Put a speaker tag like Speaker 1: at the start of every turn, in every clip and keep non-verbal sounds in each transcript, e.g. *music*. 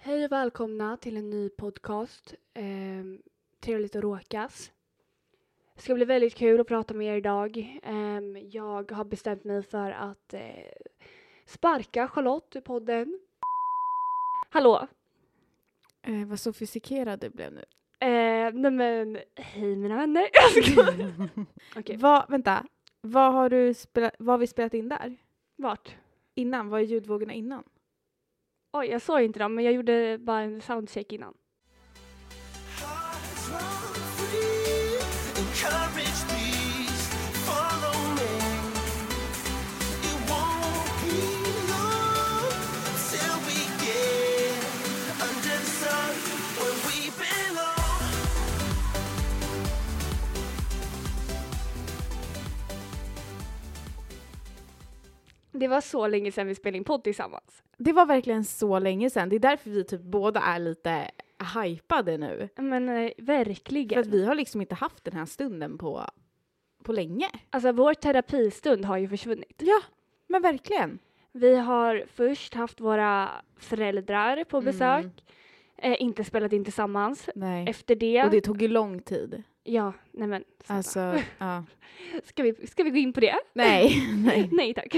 Speaker 1: Hej och välkomna till en ny podcast. Ehm, trevligt att råkas. Det ska bli väldigt kul att prata med er idag. Ehm, jag har bestämt mig för att eh, sparka Charlotte ur podden. Hallå!
Speaker 2: Eh, vad sofistikerad du blev nu.
Speaker 1: Eh, nej men, hej mina vänner. *laughs* Jag skojar.
Speaker 2: *laughs*
Speaker 1: Okej,
Speaker 2: Vad, vänta, vad har, du spela, vad har vi spelat in där?
Speaker 1: vart?
Speaker 2: Innan? Vad är ljudvågorna innan?
Speaker 1: Oj, jag sa inte det, men jag gjorde bara en soundcheck innan.
Speaker 3: Hearts run free, encourage peace, follow me. It won't be long till we get under the sun where we belong.
Speaker 1: Det var så länge sedan vi spelade in podd tillsammans.
Speaker 2: Det var verkligen så länge sedan. Det är därför vi typ båda är lite hypade nu.
Speaker 1: Men eh,
Speaker 2: För att
Speaker 1: verkligen.
Speaker 2: vi har liksom inte haft den här stunden på, på länge.
Speaker 1: Alltså vår terapistund har ju försvunnit.
Speaker 2: Ja, men verkligen.
Speaker 1: Vi har först haft våra föräldrar
Speaker 2: Mm.
Speaker 1: på besök, eh, inte spelat in tillsammans.
Speaker 2: Nej.
Speaker 1: Efter det,
Speaker 2: Och det tog ju lång tid.
Speaker 1: ja, nej men. snälla.
Speaker 2: Alltså, *laughs* ja.
Speaker 1: Ska, vi, ska vi gå in på det?
Speaker 2: Nej, *laughs* nej.
Speaker 1: nej tack.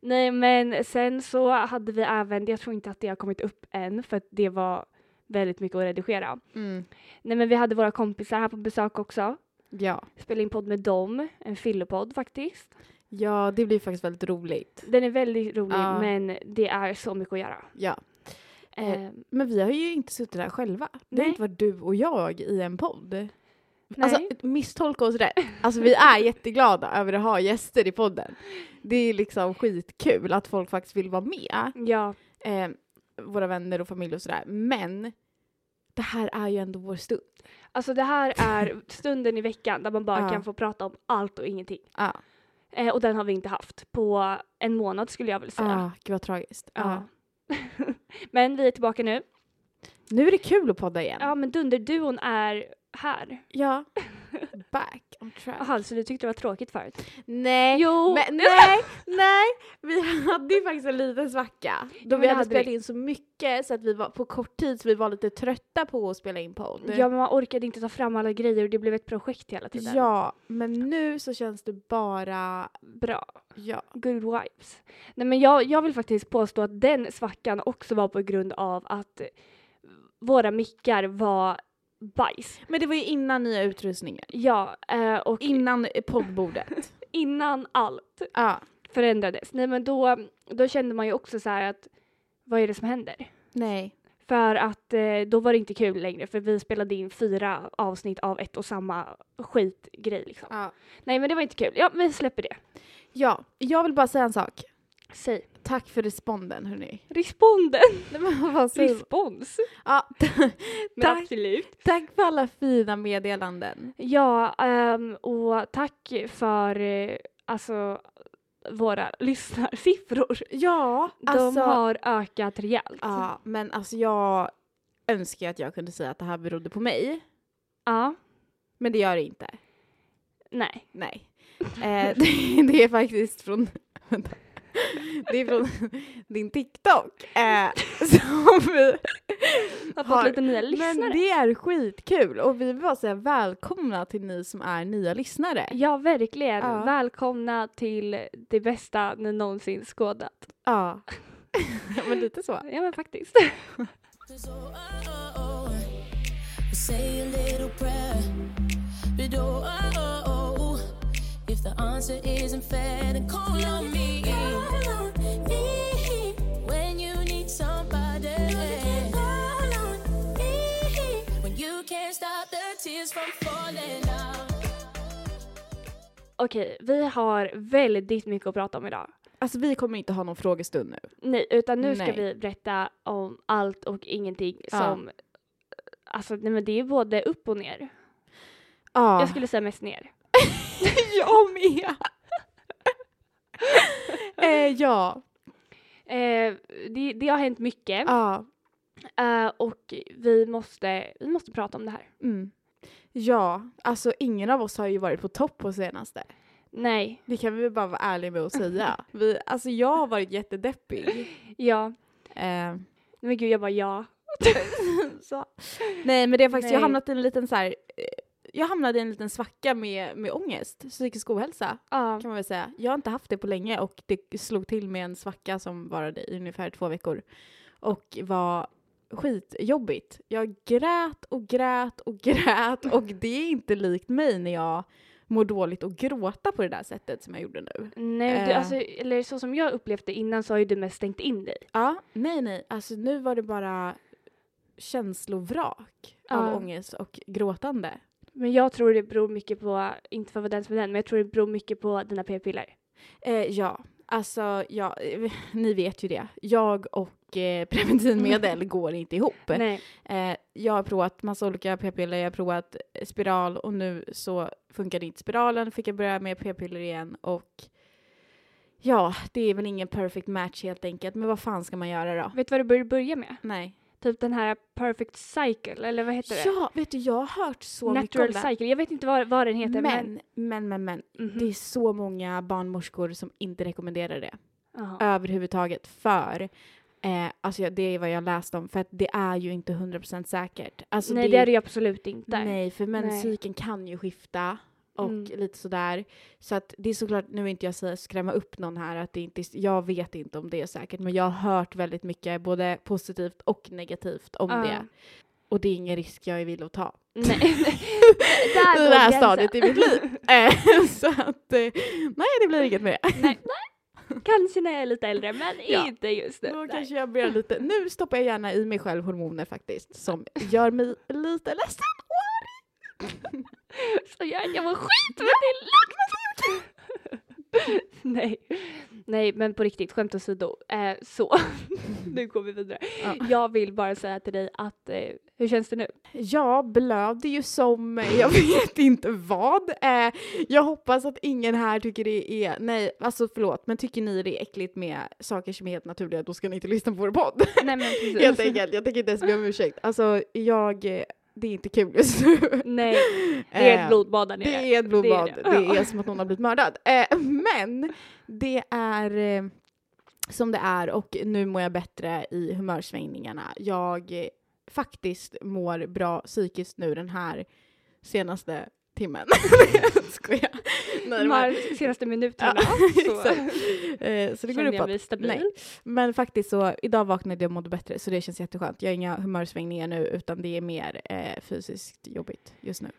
Speaker 1: nej men sen så hade vi även, jag tror inte att det har kommit upp än för att det var väldigt mycket att redigera.
Speaker 2: Mm.
Speaker 1: Nej men vi hade våra kompisar här på besök också.
Speaker 2: Ja.
Speaker 1: Spelade in podd med dem, en fyllepodd faktiskt.
Speaker 2: ja, det blir faktiskt väldigt roligt.
Speaker 1: Den är väldigt rolig
Speaker 2: Ja.
Speaker 1: men det är så mycket att göra.
Speaker 2: Ja. Eh,
Speaker 1: Ehm,
Speaker 2: Men vi har ju inte suttit där själva. Det
Speaker 1: Nej.
Speaker 2: har inte varit du och jag i en podd.
Speaker 1: Nej.
Speaker 2: Alltså misstolka oss rätt. Alltså vi är jätteglada över att ha gäster i podden. Det är liksom skitkul att folk faktiskt vill vara med.
Speaker 1: ja,
Speaker 2: Eh, våra vänner och familj och sådär. Men det här är ju ändå vår stund.
Speaker 1: Alltså det här är stunden i veckan där man bara
Speaker 2: Ja.
Speaker 1: kan få prata om allt och ingenting.
Speaker 2: Ja.
Speaker 1: Eh, och den har vi inte haft på en månad skulle jag vilja säga.
Speaker 2: Ah, gud vad tragiskt. Ah.
Speaker 1: Ja.
Speaker 2: Ja.
Speaker 1: *laughs* men vi är tillbaka nu.
Speaker 2: Nu är det kul att podda igen.
Speaker 1: Ja men Dunderduon är här. *laughs*
Speaker 2: Ja. Back on track.
Speaker 1: Jaha, så du tyckte det var tråkigt förut?
Speaker 2: Nej.
Speaker 1: Jo! *laughs*
Speaker 2: Eh, Men, nej, nej, vi hade ju faktiskt en liten svacka. Då
Speaker 1: men
Speaker 2: vi
Speaker 1: det
Speaker 2: hade
Speaker 1: hade
Speaker 2: spelat
Speaker 1: vi.
Speaker 2: in så mycket så att vi var på kort tid så vi var lite trötta på att spela in podd.
Speaker 1: Ja men man orkade inte ta fram alla grejer och det blev ett projekt hela tiden.
Speaker 2: Ja, men nu så känns det bara...
Speaker 1: Bra.
Speaker 2: Ja.
Speaker 1: Good vibes. Nej men jag, jag vill faktiskt påstå att den svackan också var på grund av att eh, våra mickar var bajs.
Speaker 2: Men det var ju innan nya utrustningen.
Speaker 1: Ja, eh, och
Speaker 2: Innan poddbordet.
Speaker 1: innan allt
Speaker 2: *laughs* ja.
Speaker 1: förändrades, nej men då, då kände man ju också så här att vad är det som händer?
Speaker 2: Nej.
Speaker 1: För att eh, då var det inte kul längre för vi spelade in fyra avsnitt av ett och samma skitgrej liksom.
Speaker 2: Ja.
Speaker 1: Nej men det var inte kul. Ja, vi släpper det.
Speaker 2: ja, jag vill bara säga en sak.
Speaker 1: Säg.
Speaker 2: Tack för responden hörni.
Speaker 1: Responden!
Speaker 2: *laughs* Nej, men vad säger man?
Speaker 1: Respons!
Speaker 2: ja, *laughs*
Speaker 1: Men
Speaker 2: tack,
Speaker 1: absolut.
Speaker 2: tack för alla fina meddelanden.
Speaker 1: Ja, ehm, och tack för eh, alltså våra lyssnarsiffror.
Speaker 2: Ja, alltså,
Speaker 1: De har ökat rejält.
Speaker 2: Ja, men alltså jag önskar ju att jag kunde säga att det här berodde på mig.
Speaker 1: ja.
Speaker 2: Men det gör det inte.
Speaker 1: Nej.
Speaker 2: Nej. Eh, *laughs* det, det är faktiskt från... Vänta. Det är från din TikTok. Eh, *laughs* som vi,
Speaker 1: Har fått
Speaker 2: Har-
Speaker 1: lite nya lyssnare.
Speaker 2: men det är skitkul och vi vill bara säga välkomna till ni som är nya lyssnare.
Speaker 1: Ja, verkligen.
Speaker 2: Ja.
Speaker 1: Välkomna till det bästa ni någonsin skådat.
Speaker 2: Ja.
Speaker 1: *laughs*
Speaker 2: men lite så.
Speaker 1: Ja, men faktiskt. *laughs*
Speaker 3: Cause oh, oh, oh, oh, we say a little prayer. But oh, oh, oh, oh, if the answer isn't fair, then call on me. Call on me when you need somebody. Call on me when you can't stop the tears from falling out.
Speaker 1: Okej, vi har väldigt mycket att prata om idag.
Speaker 2: Alltså vi kommer inte ha någon frågestund nu.
Speaker 1: Nej, utan nu ska
Speaker 2: Nej.
Speaker 1: vi berätta om allt och ingenting
Speaker 2: Ja.
Speaker 1: som... eh, Alltså, nej men det är både upp och ner.
Speaker 2: Ja.
Speaker 1: Jag skulle säga mest ner.
Speaker 2: *laughs*
Speaker 1: *laughs*
Speaker 2: jag med! eh, ja.
Speaker 1: Eh, det, det har hänt mycket
Speaker 2: ja.
Speaker 1: eh, och vi måste, vi måste prata om det här.
Speaker 2: Mm. Ja, alltså ingen av oss har ju varit på topp på senaste.
Speaker 1: Nej,
Speaker 2: Det kan vi väl bara vara
Speaker 1: *laughs*
Speaker 2: ärliga med att säga. Vi, alltså jag har varit jättedeppig.
Speaker 1: ja.
Speaker 2: Eh,
Speaker 1: Nej, Men gud, jag bara ja. så.
Speaker 2: Nej men det är faktiskt, jag
Speaker 1: Nej.
Speaker 2: har hamnat i en liten så här, eh, jag hamnade i en liten svacka med, med ångest, psykisk ohälsa
Speaker 1: Ja.
Speaker 2: kan man väl säga. Jag har inte haft det på länge och det slog till med en svacka som varade i ungefär två veckor och var skitjobbigt. Jag grät och grät och grät och det är inte likt mig när jag mår dåligt och gråta på det där sättet som jag gjorde nu.
Speaker 1: Nej, du,
Speaker 2: Eh.
Speaker 1: alltså, eller så som jag upplevt det innan så har ju du mest stängt in dig.
Speaker 2: Ja, nej nej, alltså nu var det bara känslovrak
Speaker 1: Ja.
Speaker 2: av ångest och gråtande.
Speaker 1: Men jag tror det beror mycket på, inte för att vara den som är den, men jag tror det beror mycket på dina p-piller.
Speaker 2: Eh, ja, alltså ja, *laughs* eh, ni vet ju det. Jag och eh,
Speaker 1: *laughs*
Speaker 2: *laughs* preventivmedel går inte ihop.
Speaker 1: Nej.
Speaker 2: Eh, jag har provat massa olika p-piller, jag har provat eh, spiral och nu så funkade inte spiralen, fick jag börja med p-piller igen och ja, det är väl ingen perfect match helt enkelt, men vad fan ska man göra då?
Speaker 1: Vet du vad du bör börja med?
Speaker 2: Nej.
Speaker 1: Typ den här perfect cycle, eller vad heter det?
Speaker 2: Ja, vet du, jag har hört så
Speaker 1: Natural
Speaker 2: mycket om det.
Speaker 1: cycle. Jag vet inte vad, vad den heter. Men.
Speaker 2: Men, men, men, men.
Speaker 1: Mhm.
Speaker 2: Det är så många barnmorskor som inte rekommenderar det.
Speaker 1: Jaha.
Speaker 2: överhuvudtaget för Eh, alltså jag- det är vad jag läst om, för att det är ju inte 100% säkert. Alltså
Speaker 1: nej, det är det ju absolut inte.
Speaker 2: Nej, för
Speaker 1: Nej.
Speaker 2: menscykeln kan ju skifta och
Speaker 1: Mm.
Speaker 2: lite sådär. Så att det är såklart, nu vill inte jag säga, skrämma upp någon här, att det inte, är- jag vet inte om det är säkert, men jag har hört väldigt mycket, både positivt och negativt om
Speaker 1: Ja.
Speaker 2: det. Och det är ingen risk jag är villig att ta.
Speaker 1: Nej. *laughs* Där
Speaker 2: I
Speaker 1: går
Speaker 2: *laughs* det här
Speaker 1: gränsen.
Speaker 2: stadiet i mitt
Speaker 1: *laughs*
Speaker 2: liv. Eh, *laughs* så att, eh, nej det blir inget med det.
Speaker 1: nej, nej. Kanske när jag är lite äldre, men
Speaker 2: Ja.
Speaker 1: inte just nu.
Speaker 2: Då
Speaker 1: Nej.
Speaker 2: kanske jag blir lite, nu stoppar jag gärna i mig själv hormoner faktiskt som gör mig lite ledsen och arg.
Speaker 1: Så jag, jag mår skit men det är lugnt. Nej. Nej, men på riktigt, skämt åsido. Eh, så, *laughs* nu går vi vidare.
Speaker 2: Ja.
Speaker 1: Jag vill bara säga till dig att, eh, hur känns det nu?
Speaker 2: Jag blöder ju som, eh, jag *laughs* vet inte vad. Eh, jag hoppas att ingen här tycker det är, nej alltså förlåt, men tycker ni det är äckligt med saker som är helt naturliga då ska ni inte lyssna på vår podd. *laughs*
Speaker 1: Nej, men precis.
Speaker 2: helt enkelt, jag tänker inte ens be om ursäkt. Alltså jag, eh, det är inte kul just nu.
Speaker 1: Nej, Mm, det är
Speaker 2: Eh,
Speaker 1: ett blodbad där nere.
Speaker 2: Det är ett blodbad.
Speaker 1: det.
Speaker 2: Det är, som att någon har blivit mördad. Eh, men det är eh, som det är och nu mår jag bättre i humörsvängningarna. Jag eh, faktiskt mår bra psykiskt nu den här senaste timmen. *laughs* Skojar. Nej,
Speaker 1: De
Speaker 2: men,
Speaker 1: här senaste minuterna.
Speaker 2: Ja,
Speaker 1: så
Speaker 2: *laughs* exakt. eh, så det går
Speaker 1: kände jag
Speaker 2: uppåt.
Speaker 1: mig stabil.
Speaker 2: Nej. Men faktiskt så, idag vaknade jag och mådde bättre så det känns jätteskönt. Jag har inga humörsvängningar nu utan det är mer eh, fysiskt jobbigt just nu.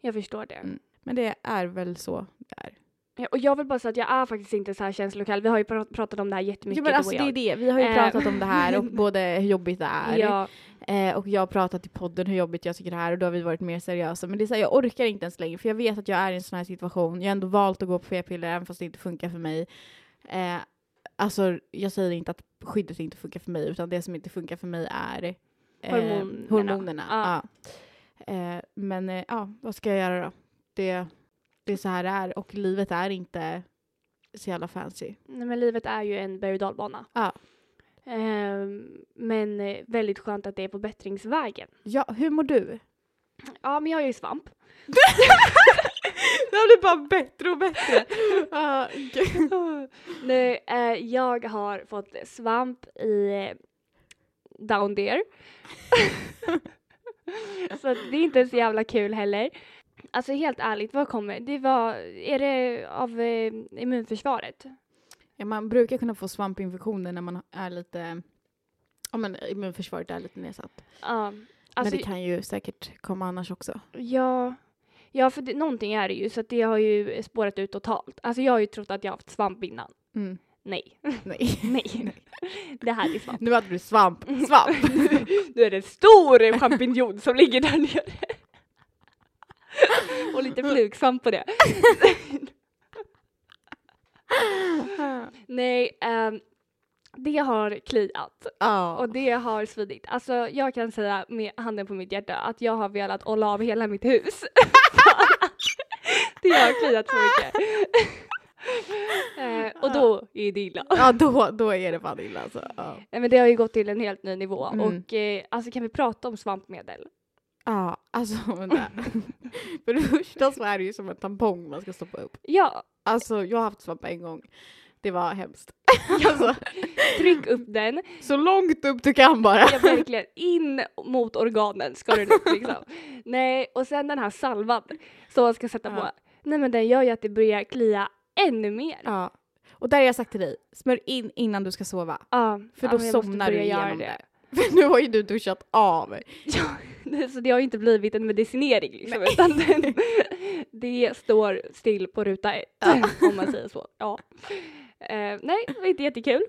Speaker 1: Jag förstår det.
Speaker 2: Mm. Men det är väl så det är.
Speaker 1: Ja, Och jag vill bara säga att jag är faktiskt inte så här känslokall. Vi har ju pra- pratat om det här jättemycket.
Speaker 2: Ja, men
Speaker 1: du och
Speaker 2: alltså, det är
Speaker 1: jag.
Speaker 2: det. Vi har ju
Speaker 1: Eh,
Speaker 2: pratat om det
Speaker 1: *laughs*
Speaker 2: här och både hur jobbigt det är
Speaker 1: Ja,
Speaker 2: eh, och jag har pratat i podden hur jobbigt jag tycker det är och då har vi varit mer seriösa. Men det är så här, jag orkar inte ens längre för jag vet att jag är i en sån här situation. Jag har ändå valt att gå på p-piller även fast det inte funkar för mig. Eh, alltså jag säger inte att skyddet inte funkar för mig utan det som inte funkar för mig är eh,
Speaker 1: Hormonerna.
Speaker 2: hormonerna.
Speaker 1: Ja.
Speaker 2: Ja. Eh, men eh, ja, vad ska jag göra då? Det, det är så här det är och livet är inte så jävla fancy.
Speaker 1: Nej, men livet är ju en berg och dalbana.
Speaker 2: Ja.
Speaker 1: Ehm, men eh, väldigt skönt att det är på bättringsvägen.
Speaker 2: Ja, hur mår du?
Speaker 1: Ja, men jag är ju svamp.
Speaker 2: *laughs* Det har blivit bara bättre och *laughs* bättre. Ah. Ja, gud.
Speaker 1: *laughs* nu, eh, jag har fått svamp i eh, down *laughs* there. så att det är inte så jävla kul heller. Alltså helt ärligt, vad kommer? Det var, är det av eh, immunförsvaret?
Speaker 2: Ja, man brukar kunna få svampinfektioner när man är lite, ja men immunförsvaret är lite nedsatt.
Speaker 1: Ja.
Speaker 2: men
Speaker 1: Alltså,
Speaker 2: det kan ju säkert komma annars också.
Speaker 1: Ja, ja för det, någonting är det ju, så att det har ju spårat ut totalt. Alltså jag har ju trott att jag har haft svamp innan.
Speaker 2: Mm.
Speaker 1: Nej,
Speaker 2: *laughs* Nej.
Speaker 1: *laughs* nej. det här är svamp.
Speaker 2: Nu hade du svamp, *laughs* svamp.
Speaker 1: nu är det en stor champinjon som ligger där nere. Och lite flugsvamp på det. Nej, ehm, det har kliat
Speaker 2: Ja.
Speaker 1: och det har svidit. Alltså jag kan säga med handen på mitt hjärta att jag har velat olla av hela mitt hus. *laughs* det har kliat så mycket. Eh, och då är det illa.
Speaker 2: *laughs* Ja, då, då är det fan illa alltså. Ja,
Speaker 1: Nej, men det har ju gått till en helt ny nivå
Speaker 2: Mm.
Speaker 1: och eh, alltså kan vi prata om svampmedel?
Speaker 2: ja alltså *laughs* vänta. För det första så är det ju som en tampong man ska stoppa upp.
Speaker 1: Ja,
Speaker 2: Alltså jag har haft svamp en gång Det var hemskt. *laughs* alltså,
Speaker 1: Tryck upp den.
Speaker 2: så långt upp du kan bara.
Speaker 1: Ja, verkligen. In mot organen ska den upp liksom. Nej, och sen den här salvan som man ska sätta
Speaker 2: Ja.
Speaker 1: på. Nej men den gör ju att det börjar klia ännu mer. Ja,
Speaker 2: Ja. Och där har jag sagt till dig, smörj in innan du ska sova. *laughs* För
Speaker 1: ja,
Speaker 2: då
Speaker 1: men jag måste
Speaker 2: somnar du
Speaker 1: börja göra
Speaker 2: igenom det. För nu har ju du duschat av.
Speaker 1: det. *laughs* Så det har ju inte blivit en medicinering liksom, utan den, det står still på ruta ett, om man säger så. Ja. Eh, nej, det var inte jättekul.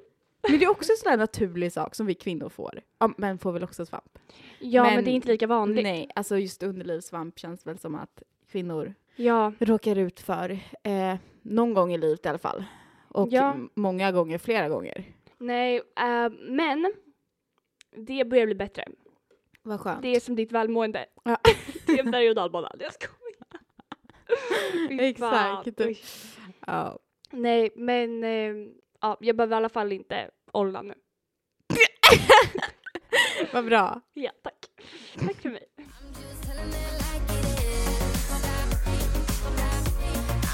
Speaker 2: Men det är också en sån där naturlig sak som vi kvinnor får. Ja, män får väl också svamp?
Speaker 1: Ja, men,
Speaker 2: Men-
Speaker 1: det är inte lika vanligt.
Speaker 2: Nej, alltså just underlivssvamp känns väl som att kvinnor
Speaker 1: Ja,
Speaker 2: råkar ut för eh, någon gång i livet i alla fall. Och
Speaker 1: Ja.
Speaker 2: m- många gånger, flera gånger.
Speaker 1: nej, eh, men det börjar bli bättre.
Speaker 2: Vad skönt.
Speaker 1: Det
Speaker 2: *laughs*
Speaker 1: är som ditt välmående.
Speaker 2: Ja.
Speaker 1: *laughs* det är en berg och dalbana. Jag skojar. Fy fan,
Speaker 2: Exakt.
Speaker 1: usch.
Speaker 2: Ja.
Speaker 1: Nej, men eh, ja, jag behöver i alla fall inte olla nu.
Speaker 2: Vad bra.
Speaker 1: Ja, tack. Tack för
Speaker 2: *laughs*
Speaker 1: mig.
Speaker 3: I'm just telling it like it is.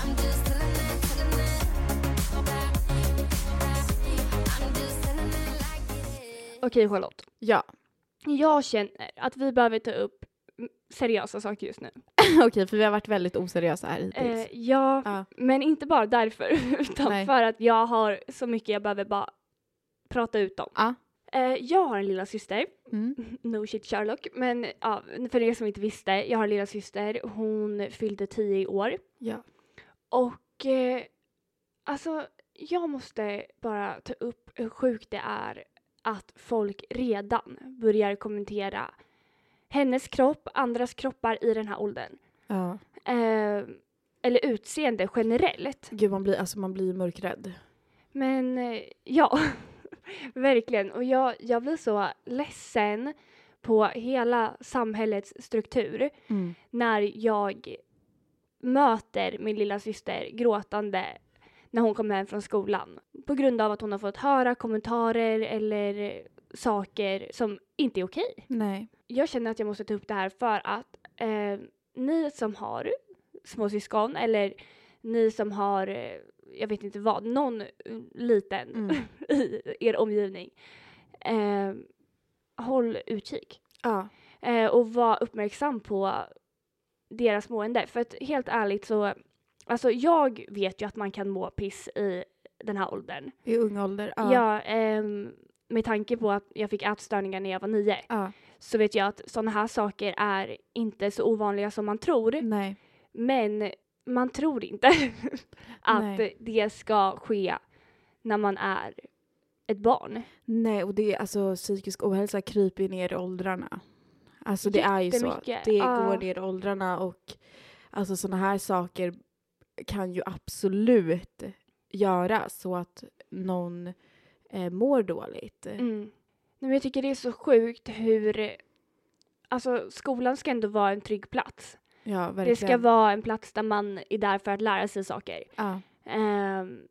Speaker 3: I'm just telling it, telling it. I'm just telling it like it is.
Speaker 1: Okej, Charlotte.
Speaker 2: *laughs* Ja,
Speaker 1: Jag känner att vi behöver ta upp mm, seriösa saker just nu.
Speaker 2: okej för vi har varit väldigt oseriösa här hittills.
Speaker 1: Eh, ja,
Speaker 2: Ja.
Speaker 1: men inte bara därför, *laughs* utan
Speaker 2: Nej.
Speaker 1: för att jag har så mycket jag behöver bara prata ut om.
Speaker 2: Ja.
Speaker 1: Eh, jag har en lilla syster
Speaker 2: Mm.
Speaker 1: *laughs* No shit Sherlock, men ja, för er som inte visste, jag har en lilla syster. hon fyllde 10 i år.
Speaker 2: Ja.
Speaker 1: Och eh, alltså, jag måste bara ta upp hur sjukt det är att folk redan börjar kommentera hennes kropp, andras kroppar i den här åldern.
Speaker 2: ja.
Speaker 1: Eh, eller utseende generellt.
Speaker 2: Gud, man blir, alltså, man blir mörkrädd.
Speaker 1: Men eh, ja, *laughs* verkligen. Och jag, jag blir så ledsen på hela samhällets struktur
Speaker 2: Mm.
Speaker 1: när jag möter min lilla syster gråtande när hon kommer hem från skolan på grund av att hon har fått höra kommentarer eller saker som inte är okej.
Speaker 2: Nej.
Speaker 1: Jag känner att jag måste ta upp det här för att eh, ni som har småsyskon eller ni som har, eh, jag vet inte vad, någon eh, liten
Speaker 2: Mm.
Speaker 1: *laughs* i er omgivning, eh, håll utkik
Speaker 2: Ja.
Speaker 1: eh, och var uppmärksam på deras mående. För att helt ärligt så, alltså jag vet ju att man kan må piss i den här åldern.
Speaker 2: I ung ålder. Ja.
Speaker 1: Jag, ehm, med tanke på att jag fick ätstörningar när jag var nio
Speaker 2: Ja.
Speaker 1: så vet jag att sådana här saker är inte så ovanliga som man tror.
Speaker 2: Nej.
Speaker 1: Men man tror inte *laughs* att
Speaker 2: Nej.
Speaker 1: det ska ske när man är ett barn.
Speaker 2: Nej, och det är alltså psykisk ohälsa kryper ju ner i åldrarna. Alltså det är ju så.
Speaker 1: Jättemycket,
Speaker 2: Det
Speaker 1: ja.
Speaker 2: går ner i åldrarna och alltså sådana här saker kan ju absolut göra så att någon eh, mår dåligt.
Speaker 1: Mm. Nej, men jag tycker det är så sjukt hur... Alltså skolan ska ändå vara en trygg plats.
Speaker 2: Ja, verkligen.
Speaker 1: Det ska vara en plats där man är där för att lära sig saker.
Speaker 2: ja.
Speaker 1: Ehm,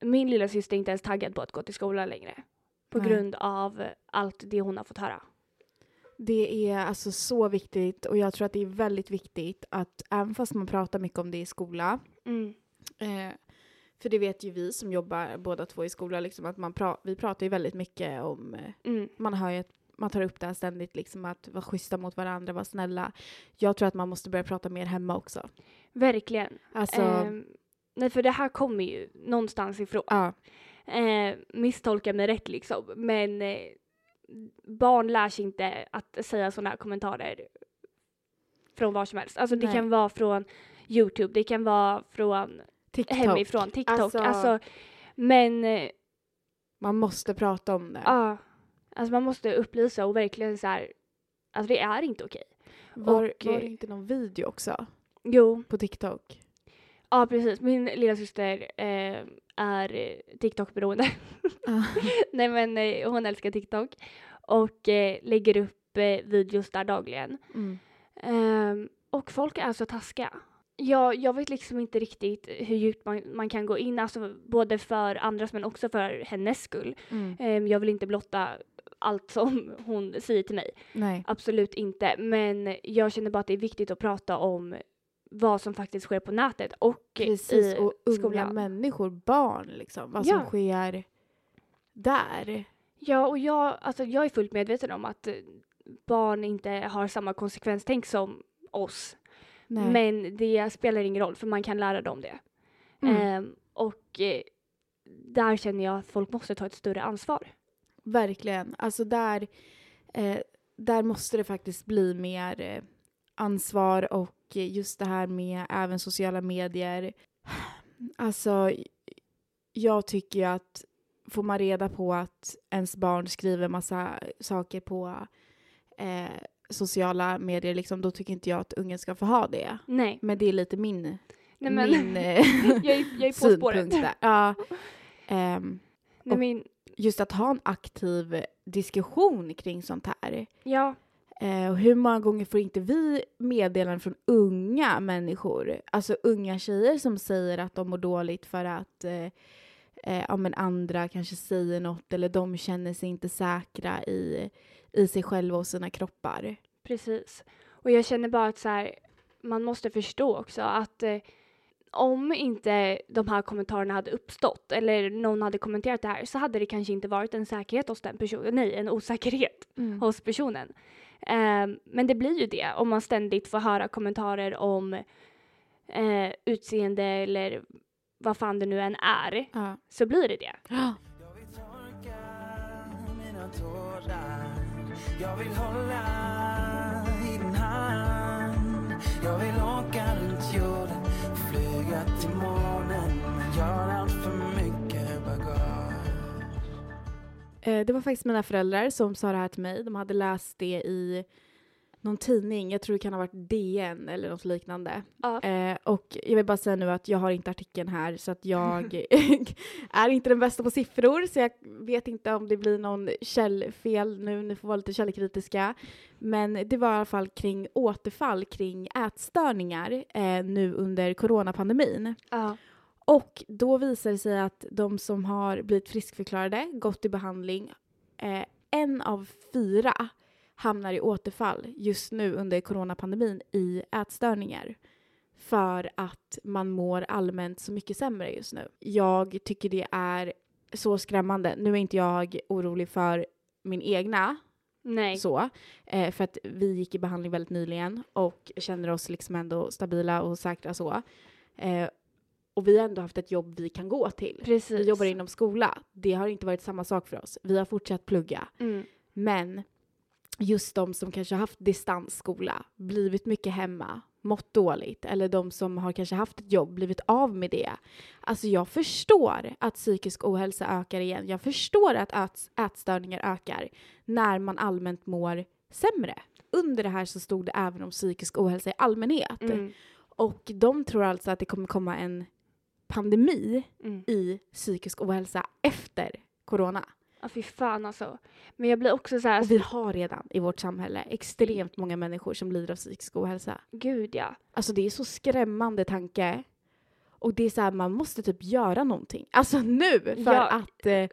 Speaker 1: min lilla syster är inte ens taggad på att gå till skolan längre. På
Speaker 2: Nej.
Speaker 1: grund av allt det hon har fått höra.
Speaker 2: Det är alltså så viktigt och jag tror att det är väldigt viktigt att även fast man pratar mycket om det i skola Eh, för det vet ju vi som jobbar båda två i skolan, liksom, att man pra- vi pratar ju väldigt mycket om, eh,
Speaker 1: Mm.
Speaker 2: man hör ju att man tar upp det här ständigt, liksom, att vara schyssta mot varandra, vara snälla. Jag tror att man måste börja prata mer hemma också.
Speaker 1: Verkligen.
Speaker 2: Alltså,
Speaker 1: Ehm, nej, för det här kommer ju någonstans ifrån.
Speaker 2: ja,
Speaker 1: Eh, misstolka mig rätt liksom, men eh, barn lär sig inte att säga sådana här kommentarer från var som helst. Alltså det
Speaker 2: Nej.
Speaker 1: kan vara från Youtube, det kan vara från
Speaker 2: TikTok.
Speaker 1: hemifrån, TikTok. Alltså,
Speaker 2: Alltså-
Speaker 1: men eh,
Speaker 2: Man måste prata om det.
Speaker 1: ja, alltså man måste upplysa och verkligen så här, alltså det är inte okej.
Speaker 2: var,
Speaker 1: och,
Speaker 2: var
Speaker 1: eh,
Speaker 2: det inte någon video också
Speaker 1: Jo, *laughs*
Speaker 2: på TikTok?
Speaker 1: ja precis. Min lilla syster eh, är eh, TikTok-beroende. *laughs*
Speaker 2: Ja.
Speaker 1: Nej men eh, hon älskar TikTok och eh, lägger upp eh, videos där dagligen.
Speaker 2: mm.
Speaker 1: Ehm, och folk är så taskiga. Jag, jag vet liksom inte riktigt hur djupt man, man kan gå in, alltså både för andras men också för hennes skull.
Speaker 2: Mm.
Speaker 1: Ehm, jag vill inte blotta allt som *laughs* hon säger till mig,
Speaker 2: Nej.
Speaker 1: absolut inte. Men jag känner bara att det är viktigt att prata om vad som faktiskt sker på nätet och
Speaker 2: Precis,
Speaker 1: i
Speaker 2: och unga
Speaker 1: skolan.
Speaker 2: människor, barn liksom, vad
Speaker 1: Ja.
Speaker 2: som sker där.
Speaker 1: Ja, och jag, alltså, jag är fullt medveten om att eh, barn inte har samma konsekvenstänk som oss.
Speaker 2: Nej.
Speaker 1: Men det spelar ingen roll för man kan lära dem det.
Speaker 2: Mm.
Speaker 1: Ehm, och eh, där känner jag att folk måste ta ett större ansvar.
Speaker 2: Verkligen. Alltså där, eh, där måste det faktiskt bli mer eh, ansvar och eh, just det här med även sociala medier. Alltså, jag tycker ju att får man reda på att ens barn skriver massa saker på eh, sociala medier, liksom, då tycker inte jag att ungen ska få ha det.
Speaker 1: Nej,
Speaker 2: Men det är lite min,
Speaker 1: nej men *laughs*
Speaker 2: min eh,
Speaker 1: jag, är, jag är på spåret.
Speaker 2: synpunkt där. Ja. Ehm,
Speaker 1: Nej, men,
Speaker 2: just att ha en aktiv diskussion kring sånt här.
Speaker 1: ja,
Speaker 2: Eh, och hur många gånger får inte vi meddelanden från unga människor? Alltså unga tjejer som säger att de mår dåligt för att eh, eh, ja, men andra kanske säger något eller de känner sig inte säkra i, i sig själva och sina kroppar.
Speaker 1: precis. Och jag känner bara att så här, man måste förstå också att eh, om inte de här kommentarerna hade uppstått eller någon hade kommenterat det här så hade det kanske inte varit en säkerhet hos den personen, nej en osäkerhet hos personen. Ehm, men det blir ju det om man ständigt får höra kommentarer om eh, utseende eller vad fan det nu än är,
Speaker 2: Ja.
Speaker 1: så blir det det.
Speaker 4: Jag vill torka mina tårar Jag vill hålla i din hand Jag vill åka runt jorden Flyga till månen Jag har allt för mycket bagage
Speaker 2: Eh, Det var faktiskt mina föräldrar som sa det här till mig. De hade läst det i någon tidning, jag tror det kan ha varit DN eller något liknande.
Speaker 1: Ja.
Speaker 2: Eh, och jag vill bara säga nu att jag har inte artikeln här så att jag är inte den bästa på siffror så jag vet inte om det blir någon källfel nu, ni får vara lite källkritiska. Men det var i alla fall kring återfall kring ätstörningar eh, nu under coronapandemin.
Speaker 1: Ja.
Speaker 2: Och då visar det sig att de som har blivit friskförklarade, gått i behandling, eh, en av fyra hamnar i återfall just nu under coronapandemin i ätstörningar för att man mår allmänt så mycket sämre just nu. Jag tycker det är så skrämmande. Nu är inte jag orolig för min egna
Speaker 1: Nej.
Speaker 2: så. Eh, för att vi gick i behandling väldigt nyligen och känner oss liksom ändå stabila och säkra så. Eh, och vi har ändå haft ett jobb vi kan gå till.
Speaker 1: Precis.
Speaker 2: Vi jobbar inom skola. Det har inte varit samma sak för oss. Vi har fortsatt plugga.
Speaker 1: Mm.
Speaker 2: Men just de som kanske har haft distansskola, blivit mycket hemma, mått dåligt eller de som har kanske haft ett jobb, blivit av med det. Alltså jag förstår att psykisk ohälsa ökar igen. Jag förstår att äts- ätstörningar ökar när man allmänt mår sämre. Under det här så stod det även om psykisk ohälsa i allmänhet.
Speaker 1: Mm.
Speaker 2: Och de tror alltså att det kommer komma en pandemi
Speaker 1: Mm.
Speaker 2: i psykisk ohälsa efter corona.
Speaker 1: Ja, fy fan alltså. Men jag blir också så här,
Speaker 2: Och Alltså, vi har redan i vårt samhälle extremt många människor som lider av psykisk ohälsa.
Speaker 1: gud ja.
Speaker 2: Alltså det är så skrämmande tanke. Och det är så här, man måste typ göra någonting. Alltså nu! För
Speaker 1: Ja.
Speaker 2: att... Eh,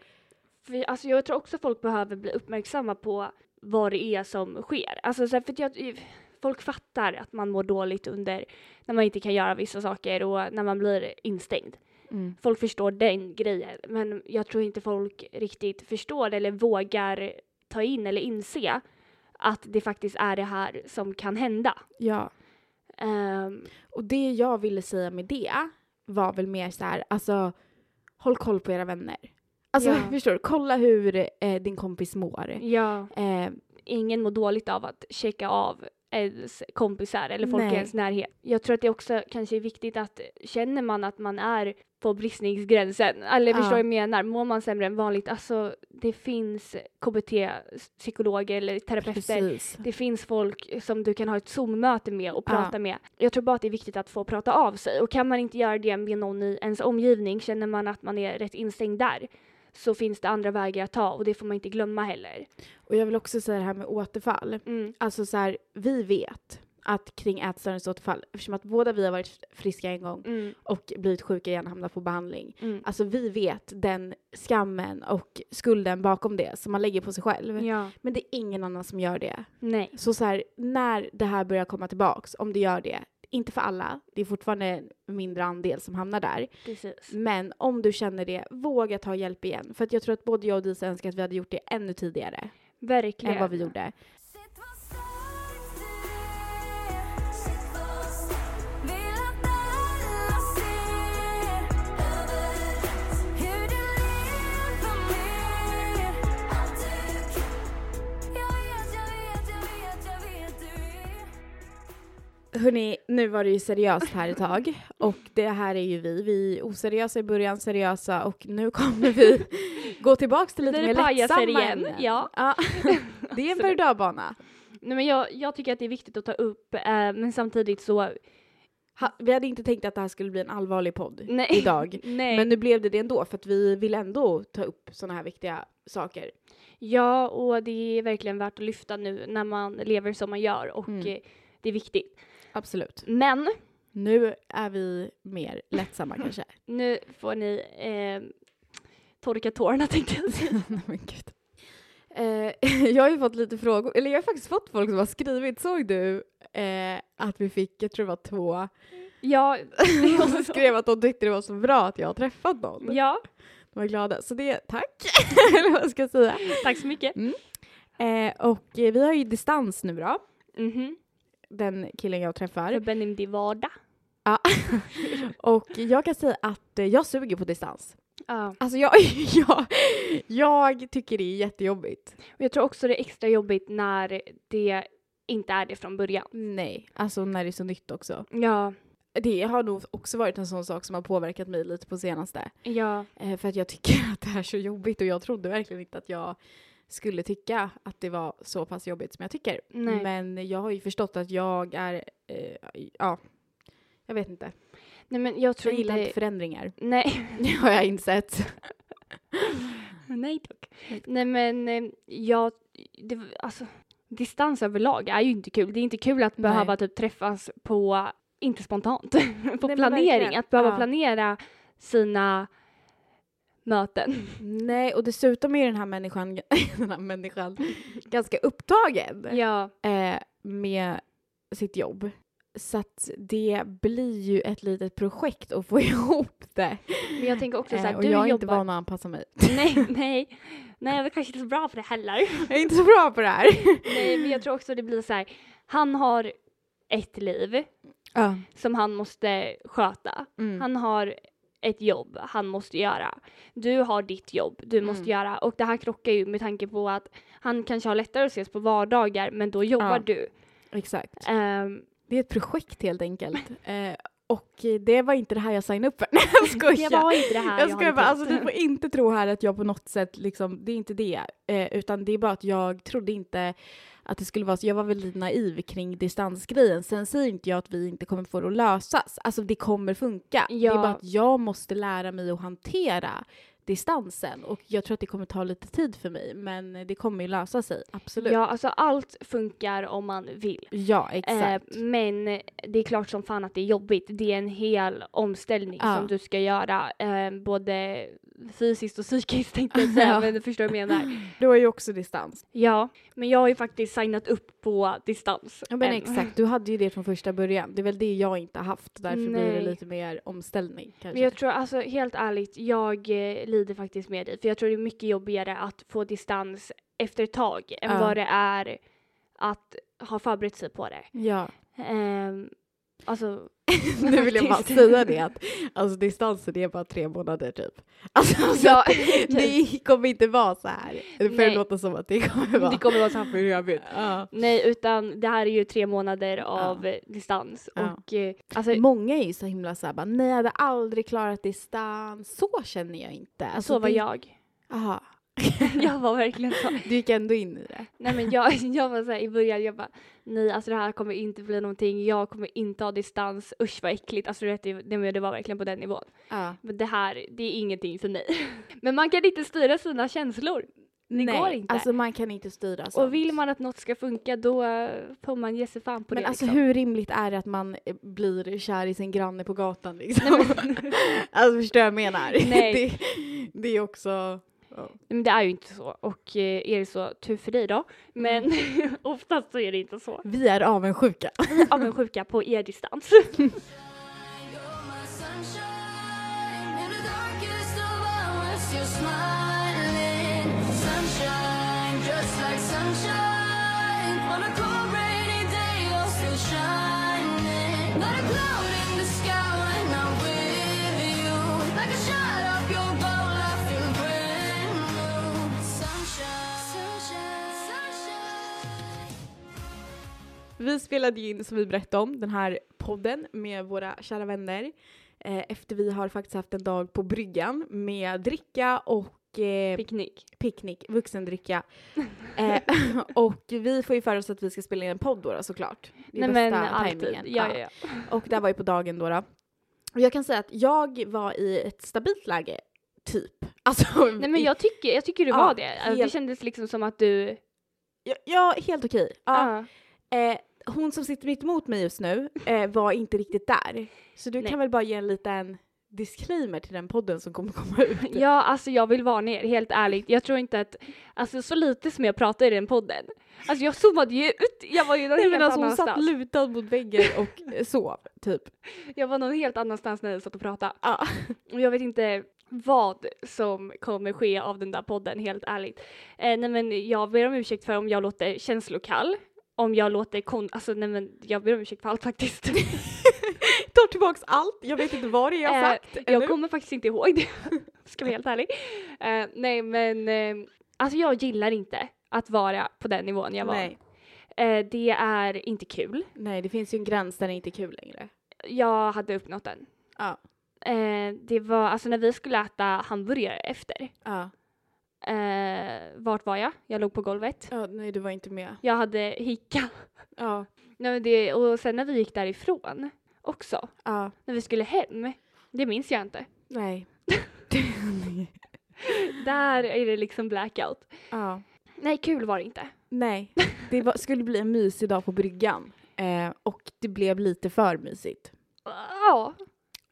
Speaker 1: För, alltså, jag tror också folk behöver bli uppmärksamma på vad det är som sker. Alltså, så här, för att jag, folk fattar att man mår dåligt under när man inte kan göra vissa saker och när man blir instängd.
Speaker 2: mm,
Speaker 1: Folk förstår den grejen, men jag tror inte folk riktigt förstår det eller vågar ta in eller inse att det faktiskt är det här som kan hända.
Speaker 2: ja.
Speaker 1: Ehm,
Speaker 2: Och det jag ville säga med det var väl mer så här, alltså håll koll på era vänner. Alltså
Speaker 1: Ja.
Speaker 2: *laughs* förstår du? Kolla hur eh, din kompis mår.
Speaker 1: ja,
Speaker 2: Eh,
Speaker 1: ingen mår dåligt av att checka av ens kompisar eller folk
Speaker 2: Nej.
Speaker 1: i ens närhet. Jag tror att det också kanske är viktigt att känner man att man är på bristningsgränsen, eller
Speaker 2: Ja.
Speaker 1: förstår vad jag menar, mår man sämre än vanligt, alltså det finns KBT-psykologer eller terapeuter
Speaker 2: precis.
Speaker 1: Det finns folk som du kan ha ett Zoom-möte med och
Speaker 2: Ja.
Speaker 1: prata med. Jag tror bara att det är viktigt att få prata av sig och kan man inte göra det med någon i ens omgivning, känner man att man är rätt instängd där, så finns det andra vägar att ta och det får man inte glömma heller.
Speaker 2: Och jag vill också säga det här med återfall.
Speaker 1: Mm.
Speaker 2: Alltså så här, vi vet att kring ätstörningsåterfall, eftersom att båda vi har varit friska en gång
Speaker 1: Mm.
Speaker 2: och blivit sjuka igen hamnat på behandling.
Speaker 1: Mm.
Speaker 2: Alltså vi vet den skammen och skulden bakom det som man lägger på sig själv.
Speaker 1: Ja,
Speaker 2: Men det är ingen annan som gör det.
Speaker 1: nej,
Speaker 2: Så så här, när det här börjar komma tillbaks, om det gör det, Inte för alla, det är fortfarande en mindre andel som hamnar där.
Speaker 1: Precis.
Speaker 2: Men om du känner det, våga ta hjälp igen. För att jag tror att både jag och Disa önskar att vi hade gjort det ännu tidigare
Speaker 1: Verkligen.
Speaker 2: än vad vi gjorde.
Speaker 5: Shit vad starkt du är, shit vad starkt Vill att alla ser överallt Hur du lever mer, allt du kan Jag vet, jag vet, jag vet, jag vet du är
Speaker 2: Hörni, nu var det ju seriöst här ett tag. Och det här är ju vi. Vi är oseriösa i början, seriösa och nu
Speaker 1: *laughs*
Speaker 2: kommer vi gå tillbaks till lite
Speaker 1: Blir det
Speaker 2: mer
Speaker 1: pajaser
Speaker 2: lättsamma
Speaker 1: igen?
Speaker 2: ämnen.
Speaker 1: Ja. *laughs*
Speaker 2: Det är en berg och dalbana.
Speaker 1: Nej, men jag, jag tycker att det är viktigt att ta upp, eh, men samtidigt så...
Speaker 2: Ha- Vi hade inte tänkt att det här skulle bli en allvarlig podd
Speaker 1: Nej.
Speaker 2: idag.
Speaker 1: *laughs* Nej.
Speaker 2: Men nu blev det det ändå för att vi vill ändå ta upp sådana här viktiga saker.
Speaker 1: Ja, och det är verkligen värt att lyfta nu när man lever som man gör och
Speaker 2: Mm.
Speaker 1: eh, det är viktigt.
Speaker 2: Absolut.
Speaker 1: Men
Speaker 2: Nu är vi mer lättsamma kanske.
Speaker 1: nu får ni eh, torka tårna *laughs* tänkte jag säga.
Speaker 2: *laughs* Nej, men gud. Eh, *laughs* jag har ju fått lite frågor, eller jag har faktiskt fått folk som har skrivit, såg du eh, att vi fick, jag tror det var två, *laughs*
Speaker 1: Ja,
Speaker 2: som skrev att de tyckte det var så bra att jag har träffat någon.
Speaker 1: ja,
Speaker 2: De var glada, så det, tack, *laughs* eller vad ska jag säga.
Speaker 1: tack så mycket.
Speaker 2: Eh, och eh, vi har ju distans nu då,
Speaker 1: Mhm.
Speaker 2: den killen jag träffar.
Speaker 1: För Benim Divada.
Speaker 2: Och jag kan säga att eh, jag suger på distans.
Speaker 1: Ja.
Speaker 2: Alltså jag, *laughs* jag, jag tycker det är jättejobbigt.
Speaker 1: Och jag tror också det är extra jobbigt när det inte är det från början.
Speaker 2: Nej, alltså när det är så nytt också.
Speaker 1: Ja,
Speaker 2: Det har nog också varit en sån sak som har påverkat mig lite på senaste.
Speaker 1: ja,
Speaker 2: Eh, för att jag tycker *laughs* att det här är så jobbigt och jag trodde verkligen inte att jag skulle tycka att det var så pass jobbigt som jag tycker.
Speaker 1: nej.
Speaker 2: Men jag har ju förstått att jag är, eh, ja, jag vet inte.
Speaker 1: nej men jag tror
Speaker 2: Jag gillar inte
Speaker 1: inte...
Speaker 2: förändringar. *laughs*
Speaker 1: Nej.
Speaker 2: Det har jag insett.
Speaker 1: Nej tack. Nej men eh, jag, det, alltså, distans överlag är ju inte kul. Det är inte kul att
Speaker 2: Nej.
Speaker 1: behöva typ träffas på, inte spontant, *laughs* på
Speaker 2: men
Speaker 1: planering.
Speaker 2: verkligen.
Speaker 1: Att behöva
Speaker 2: Ja.
Speaker 1: planera sina möten.
Speaker 2: Nej, och dessutom är den här människan, *laughs* den här *laughs* människan ganska upptagen
Speaker 1: Ja,
Speaker 2: eh, med sitt jobb. Så att det blir ju ett litet projekt att få *laughs* ihop det.
Speaker 1: men jag tänker också så här,
Speaker 2: Eh, och
Speaker 1: du
Speaker 2: jag är inte
Speaker 1: jobbar...
Speaker 2: van att anpassa mig.
Speaker 1: *laughs* nej, nej, nej, jag är kanske inte så bra på det heller. *laughs*
Speaker 2: Jag är inte så bra på det här.
Speaker 1: nej, men jag tror också det blir så här, han har ett liv
Speaker 2: Ja.
Speaker 1: som han måste sköta.
Speaker 2: Mm.
Speaker 1: Han har ett jobb han måste göra. Du har ditt jobb du måste
Speaker 2: Mm.
Speaker 1: göra. Och det här krockar ju med tanke på att han kanske har lättare att ses på vardagar men då jobbar
Speaker 2: Ja.
Speaker 1: du.
Speaker 2: Exakt.
Speaker 1: Ehm,
Speaker 2: Det är ett projekt helt enkelt. Eh, och det var inte det här jag signade upp för. *laughs* Nej, jag skojar.
Speaker 1: det var inte det här
Speaker 2: Jag skojar
Speaker 1: hade
Speaker 2: bara, alltså
Speaker 1: tänkt.
Speaker 2: du får inte tro här att jag på något sätt liksom, det är inte det. Eh, utan det är bara att jag trodde inte att det skulle vara så, jag var väldigt naiv kring distansgrejen. Sen säger inte jag att vi inte kommer få det att lösas, alltså det kommer funka. Det
Speaker 1: Ja.
Speaker 2: är bara att jag måste lära mig att hantera distansen och jag tror att det kommer ta lite tid för mig men det kommer ju lösa sig, absolut. Ja, eh,
Speaker 1: Ja, alltså allt funkar om man vill.
Speaker 2: exakt.
Speaker 1: Ehm, men det är klart som fan att det är jobbigt. Det är en hel omställning
Speaker 2: Ja.
Speaker 1: som du ska göra. ehm, både fysiskt och psykiskt tänkte jag
Speaker 2: *laughs*
Speaker 1: säga,
Speaker 2: Ja.
Speaker 1: men du förstår vad jag menar.
Speaker 2: Du har ju också distans.
Speaker 1: Ja, men jag har ju faktiskt signat upp på distans.
Speaker 2: Ja men
Speaker 1: Ehm,
Speaker 2: exakt, du hade ju det från första början. Det är väl det jag inte har haft, därför blir det
Speaker 1: Nej.
Speaker 2: lite mer omställning kanske.
Speaker 1: Men jag tror alltså helt ärligt, jag eh, lider faktiskt med dig. För jag tror det är mycket jobbigare att få distans efter ett tag än
Speaker 2: Ja.
Speaker 1: vad det är att ha förberett sig på det.
Speaker 2: Ja.
Speaker 1: Ehm, alltså,
Speaker 2: *laughs*
Speaker 1: *laughs*
Speaker 2: Nu vill jag bara
Speaker 1: Faktiskt.
Speaker 2: säga det att alltså, distansen är bara tre månader typ. *laughs* Alltså, så
Speaker 1: Ja,
Speaker 2: att *laughs* det kommer inte vara så här. För
Speaker 1: Nej.
Speaker 2: det låter som att det kommer vara.
Speaker 1: det kommer vara så
Speaker 2: *laughs*
Speaker 1: här för
Speaker 2: evigt. Ja.
Speaker 1: Nej, utan det här är ju tre månader av eh, distans.
Speaker 2: Ja.
Speaker 1: Och eh, alltså,
Speaker 2: Många är ju så himla såhär bara, nej jag hade aldrig klarat distans. Så känner jag inte. Alltså,
Speaker 1: så var
Speaker 2: det-
Speaker 1: jag.
Speaker 2: *laughs* Aha.
Speaker 1: jag var verkligen så.
Speaker 2: Du gick ändå in i det.
Speaker 1: Nej men jag, *laughs* jag var såhär i början, jag bara nej alltså det här kommer inte bli någonting, jag kommer inte ha distans, usch vad äckligt. Alltså du vet, det, det, men det var verkligen på den nivån.
Speaker 2: Ja.
Speaker 1: Men det här, det är ingenting för mig. *laughs* Men man kan inte styra sina känslor. Det
Speaker 2: nej,
Speaker 1: går inte.
Speaker 2: Alltså man kan inte styra sånt.
Speaker 1: och vill man att något ska funka då eh, får man ge sig fan på
Speaker 2: Men
Speaker 1: det.
Speaker 2: alltså
Speaker 1: liksom.
Speaker 2: hur rimligt är det att man eh, blir kär i sin granne *laughs* på gatan liksom? alltså förstår jag vad jag menar?
Speaker 1: Nej.
Speaker 2: Det, det är också...
Speaker 1: Nej, Men det är ju inte så och eh, är det så, tur för dig då. Men
Speaker 2: Mm.
Speaker 1: *laughs* oftast så är det inte
Speaker 2: *laughs*
Speaker 1: så.
Speaker 2: Vi är avundsjuka.
Speaker 1: Avundsjuka på er distans.
Speaker 5: You're my sunshine in the darkest of hours. You're smiling, sunshine, just like sunshine on a cold rainy day. You're still shining, not a cloud in the sky when I'm with you. Like a shot of your bow, I feel brand new. Sunshine, sunshine, sunshine.
Speaker 2: *laughs* Vi spelade ju in, som vi berättade om, den här podden med våra kära vänner. Eh, efter vi har faktiskt haft en dag på bryggan med dricka och
Speaker 1: *laughs*
Speaker 2: eh,
Speaker 1: Picknick.
Speaker 2: picknick,
Speaker 1: *laughs*
Speaker 2: vuxendricka. eh, *laughs* och vi får ju för oss att vi ska spela in en podd då, då såklart. Det är
Speaker 1: Nej men
Speaker 2: bästa Mm.
Speaker 1: alltid.
Speaker 2: tajmingen.
Speaker 1: Ja, ja, ja.
Speaker 2: Och det här var ju på dagen då. då. Och jag kan säga att jag var i ett stabilt läge, typ. Alltså,
Speaker 1: Nej men jag tycker, jag tycker du
Speaker 2: Ja,
Speaker 1: var det. Alltså, Det
Speaker 2: helt-
Speaker 1: kändes liksom som att du...
Speaker 2: ja, ja, helt okej. Ja.
Speaker 1: Ah.
Speaker 2: Eh, hon som sitter mitt emot mig just nu eh, var inte riktigt där. Så du
Speaker 1: Nej.
Speaker 2: kan väl bara ge en liten disclaimer till den podden som kommer komma *laughs* ut.
Speaker 1: *laughs* Ja, alltså jag vill varna er, helt ärligt. Jag tror inte att, alltså så lite som jag pratade i den podden. Alltså jag zoomade ju ut, jag var ju någon
Speaker 2: Nej, men
Speaker 1: helt
Speaker 2: alltså, hon satt
Speaker 1: annanstans.
Speaker 2: lutad mot väggen *laughs* och eh, sov, typ.
Speaker 1: jag var någon helt annanstans när jag satt och pratade.
Speaker 2: Ja.
Speaker 1: Och jag vet inte vad som kommer ske av den där podden, helt ärligt. Eh, nej men jag ber om ursäkt för om jag låter känslokall, om jag låter kon... Alltså nej men jag ber om ursäkt för allt
Speaker 2: *laughs*
Speaker 1: faktiskt.
Speaker 2: Tar tillbaks allt, jag vet inte vad det är jag har
Speaker 1: Eh,
Speaker 2: sagt.
Speaker 1: Jag
Speaker 2: ännu.
Speaker 1: kommer faktiskt inte ihåg det, *laughs* ska jag vara helt ärlig. Eh, nej men, eh, alltså jag gillar inte att vara på den nivån jag var.
Speaker 2: Nej.
Speaker 1: Eh, det är inte kul.
Speaker 2: Nej, det finns ju en gräns där det inte är kul längre.
Speaker 1: Jag hade uppnått den.
Speaker 2: Ja.
Speaker 1: Eh, det var, alltså när vi skulle äta hamburgare efter,
Speaker 2: Ja.
Speaker 1: eh, vart var jag? Jag låg på golvet.
Speaker 2: ja, nej du var inte med.
Speaker 1: Jag hade hicka. *laughs*
Speaker 2: Ja.
Speaker 1: Nej, men det, och sen när vi gick därifrån också,
Speaker 2: Ja.
Speaker 1: när vi skulle hem, det minns jag inte.
Speaker 2: Nej. *laughs*
Speaker 1: Där är det liksom blackout.
Speaker 2: ja.
Speaker 1: Nej, kul var det inte.
Speaker 2: Nej, det var, skulle bli en mysig dag på bryggan. Eh, och det blev lite för mysigt.
Speaker 1: Ja.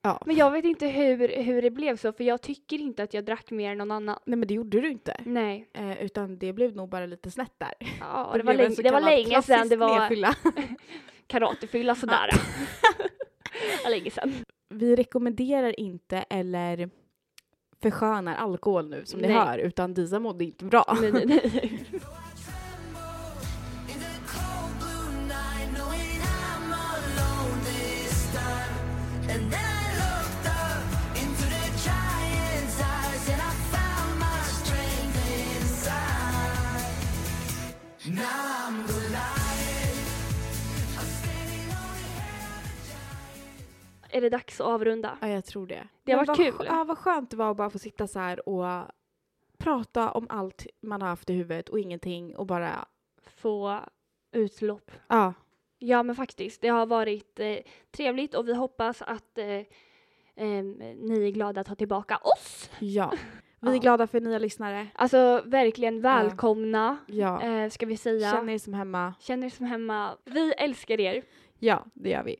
Speaker 2: Ja.
Speaker 1: Men jag vet inte hur, hur det blev så, för jag tycker inte att jag drack mer än någon annan.
Speaker 2: Nej men det gjorde du inte.
Speaker 1: Nej.
Speaker 2: Eh, utan det blev nog bara lite snett där.
Speaker 1: Ja, det, var
Speaker 2: blev
Speaker 1: länge,
Speaker 2: en så
Speaker 1: det var
Speaker 2: kallad
Speaker 1: länge sedan
Speaker 2: klassisk
Speaker 1: det var
Speaker 2: nedfylla.
Speaker 1: karatefylla sådär. *laughs* Det var länge sedan.
Speaker 2: *laughs* Vi rekommenderar inte eller förskönar alkohol nu som ni
Speaker 1: Nej.
Speaker 2: hör utan Disa mådde inte bra.
Speaker 1: Nej, nej, nej.
Speaker 5: In the cold blue night, knowing I'm alone this time. And then I looked up into the giant's eyes, and I found my strength inside. Now I'm Goliath. I'm standing on the head of a giant.
Speaker 1: Är det dags att avrunda?
Speaker 2: *laughs* Ja jag tror det.
Speaker 1: Det har
Speaker 2: Men
Speaker 1: varit
Speaker 2: vad,
Speaker 1: kul.
Speaker 2: Ja vad skönt det var att bara få sitta så här och prata om allt man har haft i huvudet och ingenting och bara
Speaker 1: Få utlopp.
Speaker 2: ja.
Speaker 1: Ja, men faktiskt. Det har varit eh, trevligt och vi hoppas att eh, em, ni är glada att ha tillbaka oss.
Speaker 2: Ja. Vi är
Speaker 1: Ja.
Speaker 2: glada för nya lyssnare.
Speaker 1: Alltså verkligen välkomna,
Speaker 2: Ja.
Speaker 1: eh, ska vi säga.
Speaker 2: Känn er som hemma.
Speaker 1: Känn er som hemma. Vi älskar er.
Speaker 2: Ja, det gör vi.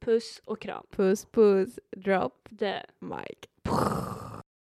Speaker 1: Puss och kram.
Speaker 2: Puss puss, drop
Speaker 1: Det.
Speaker 2: mic.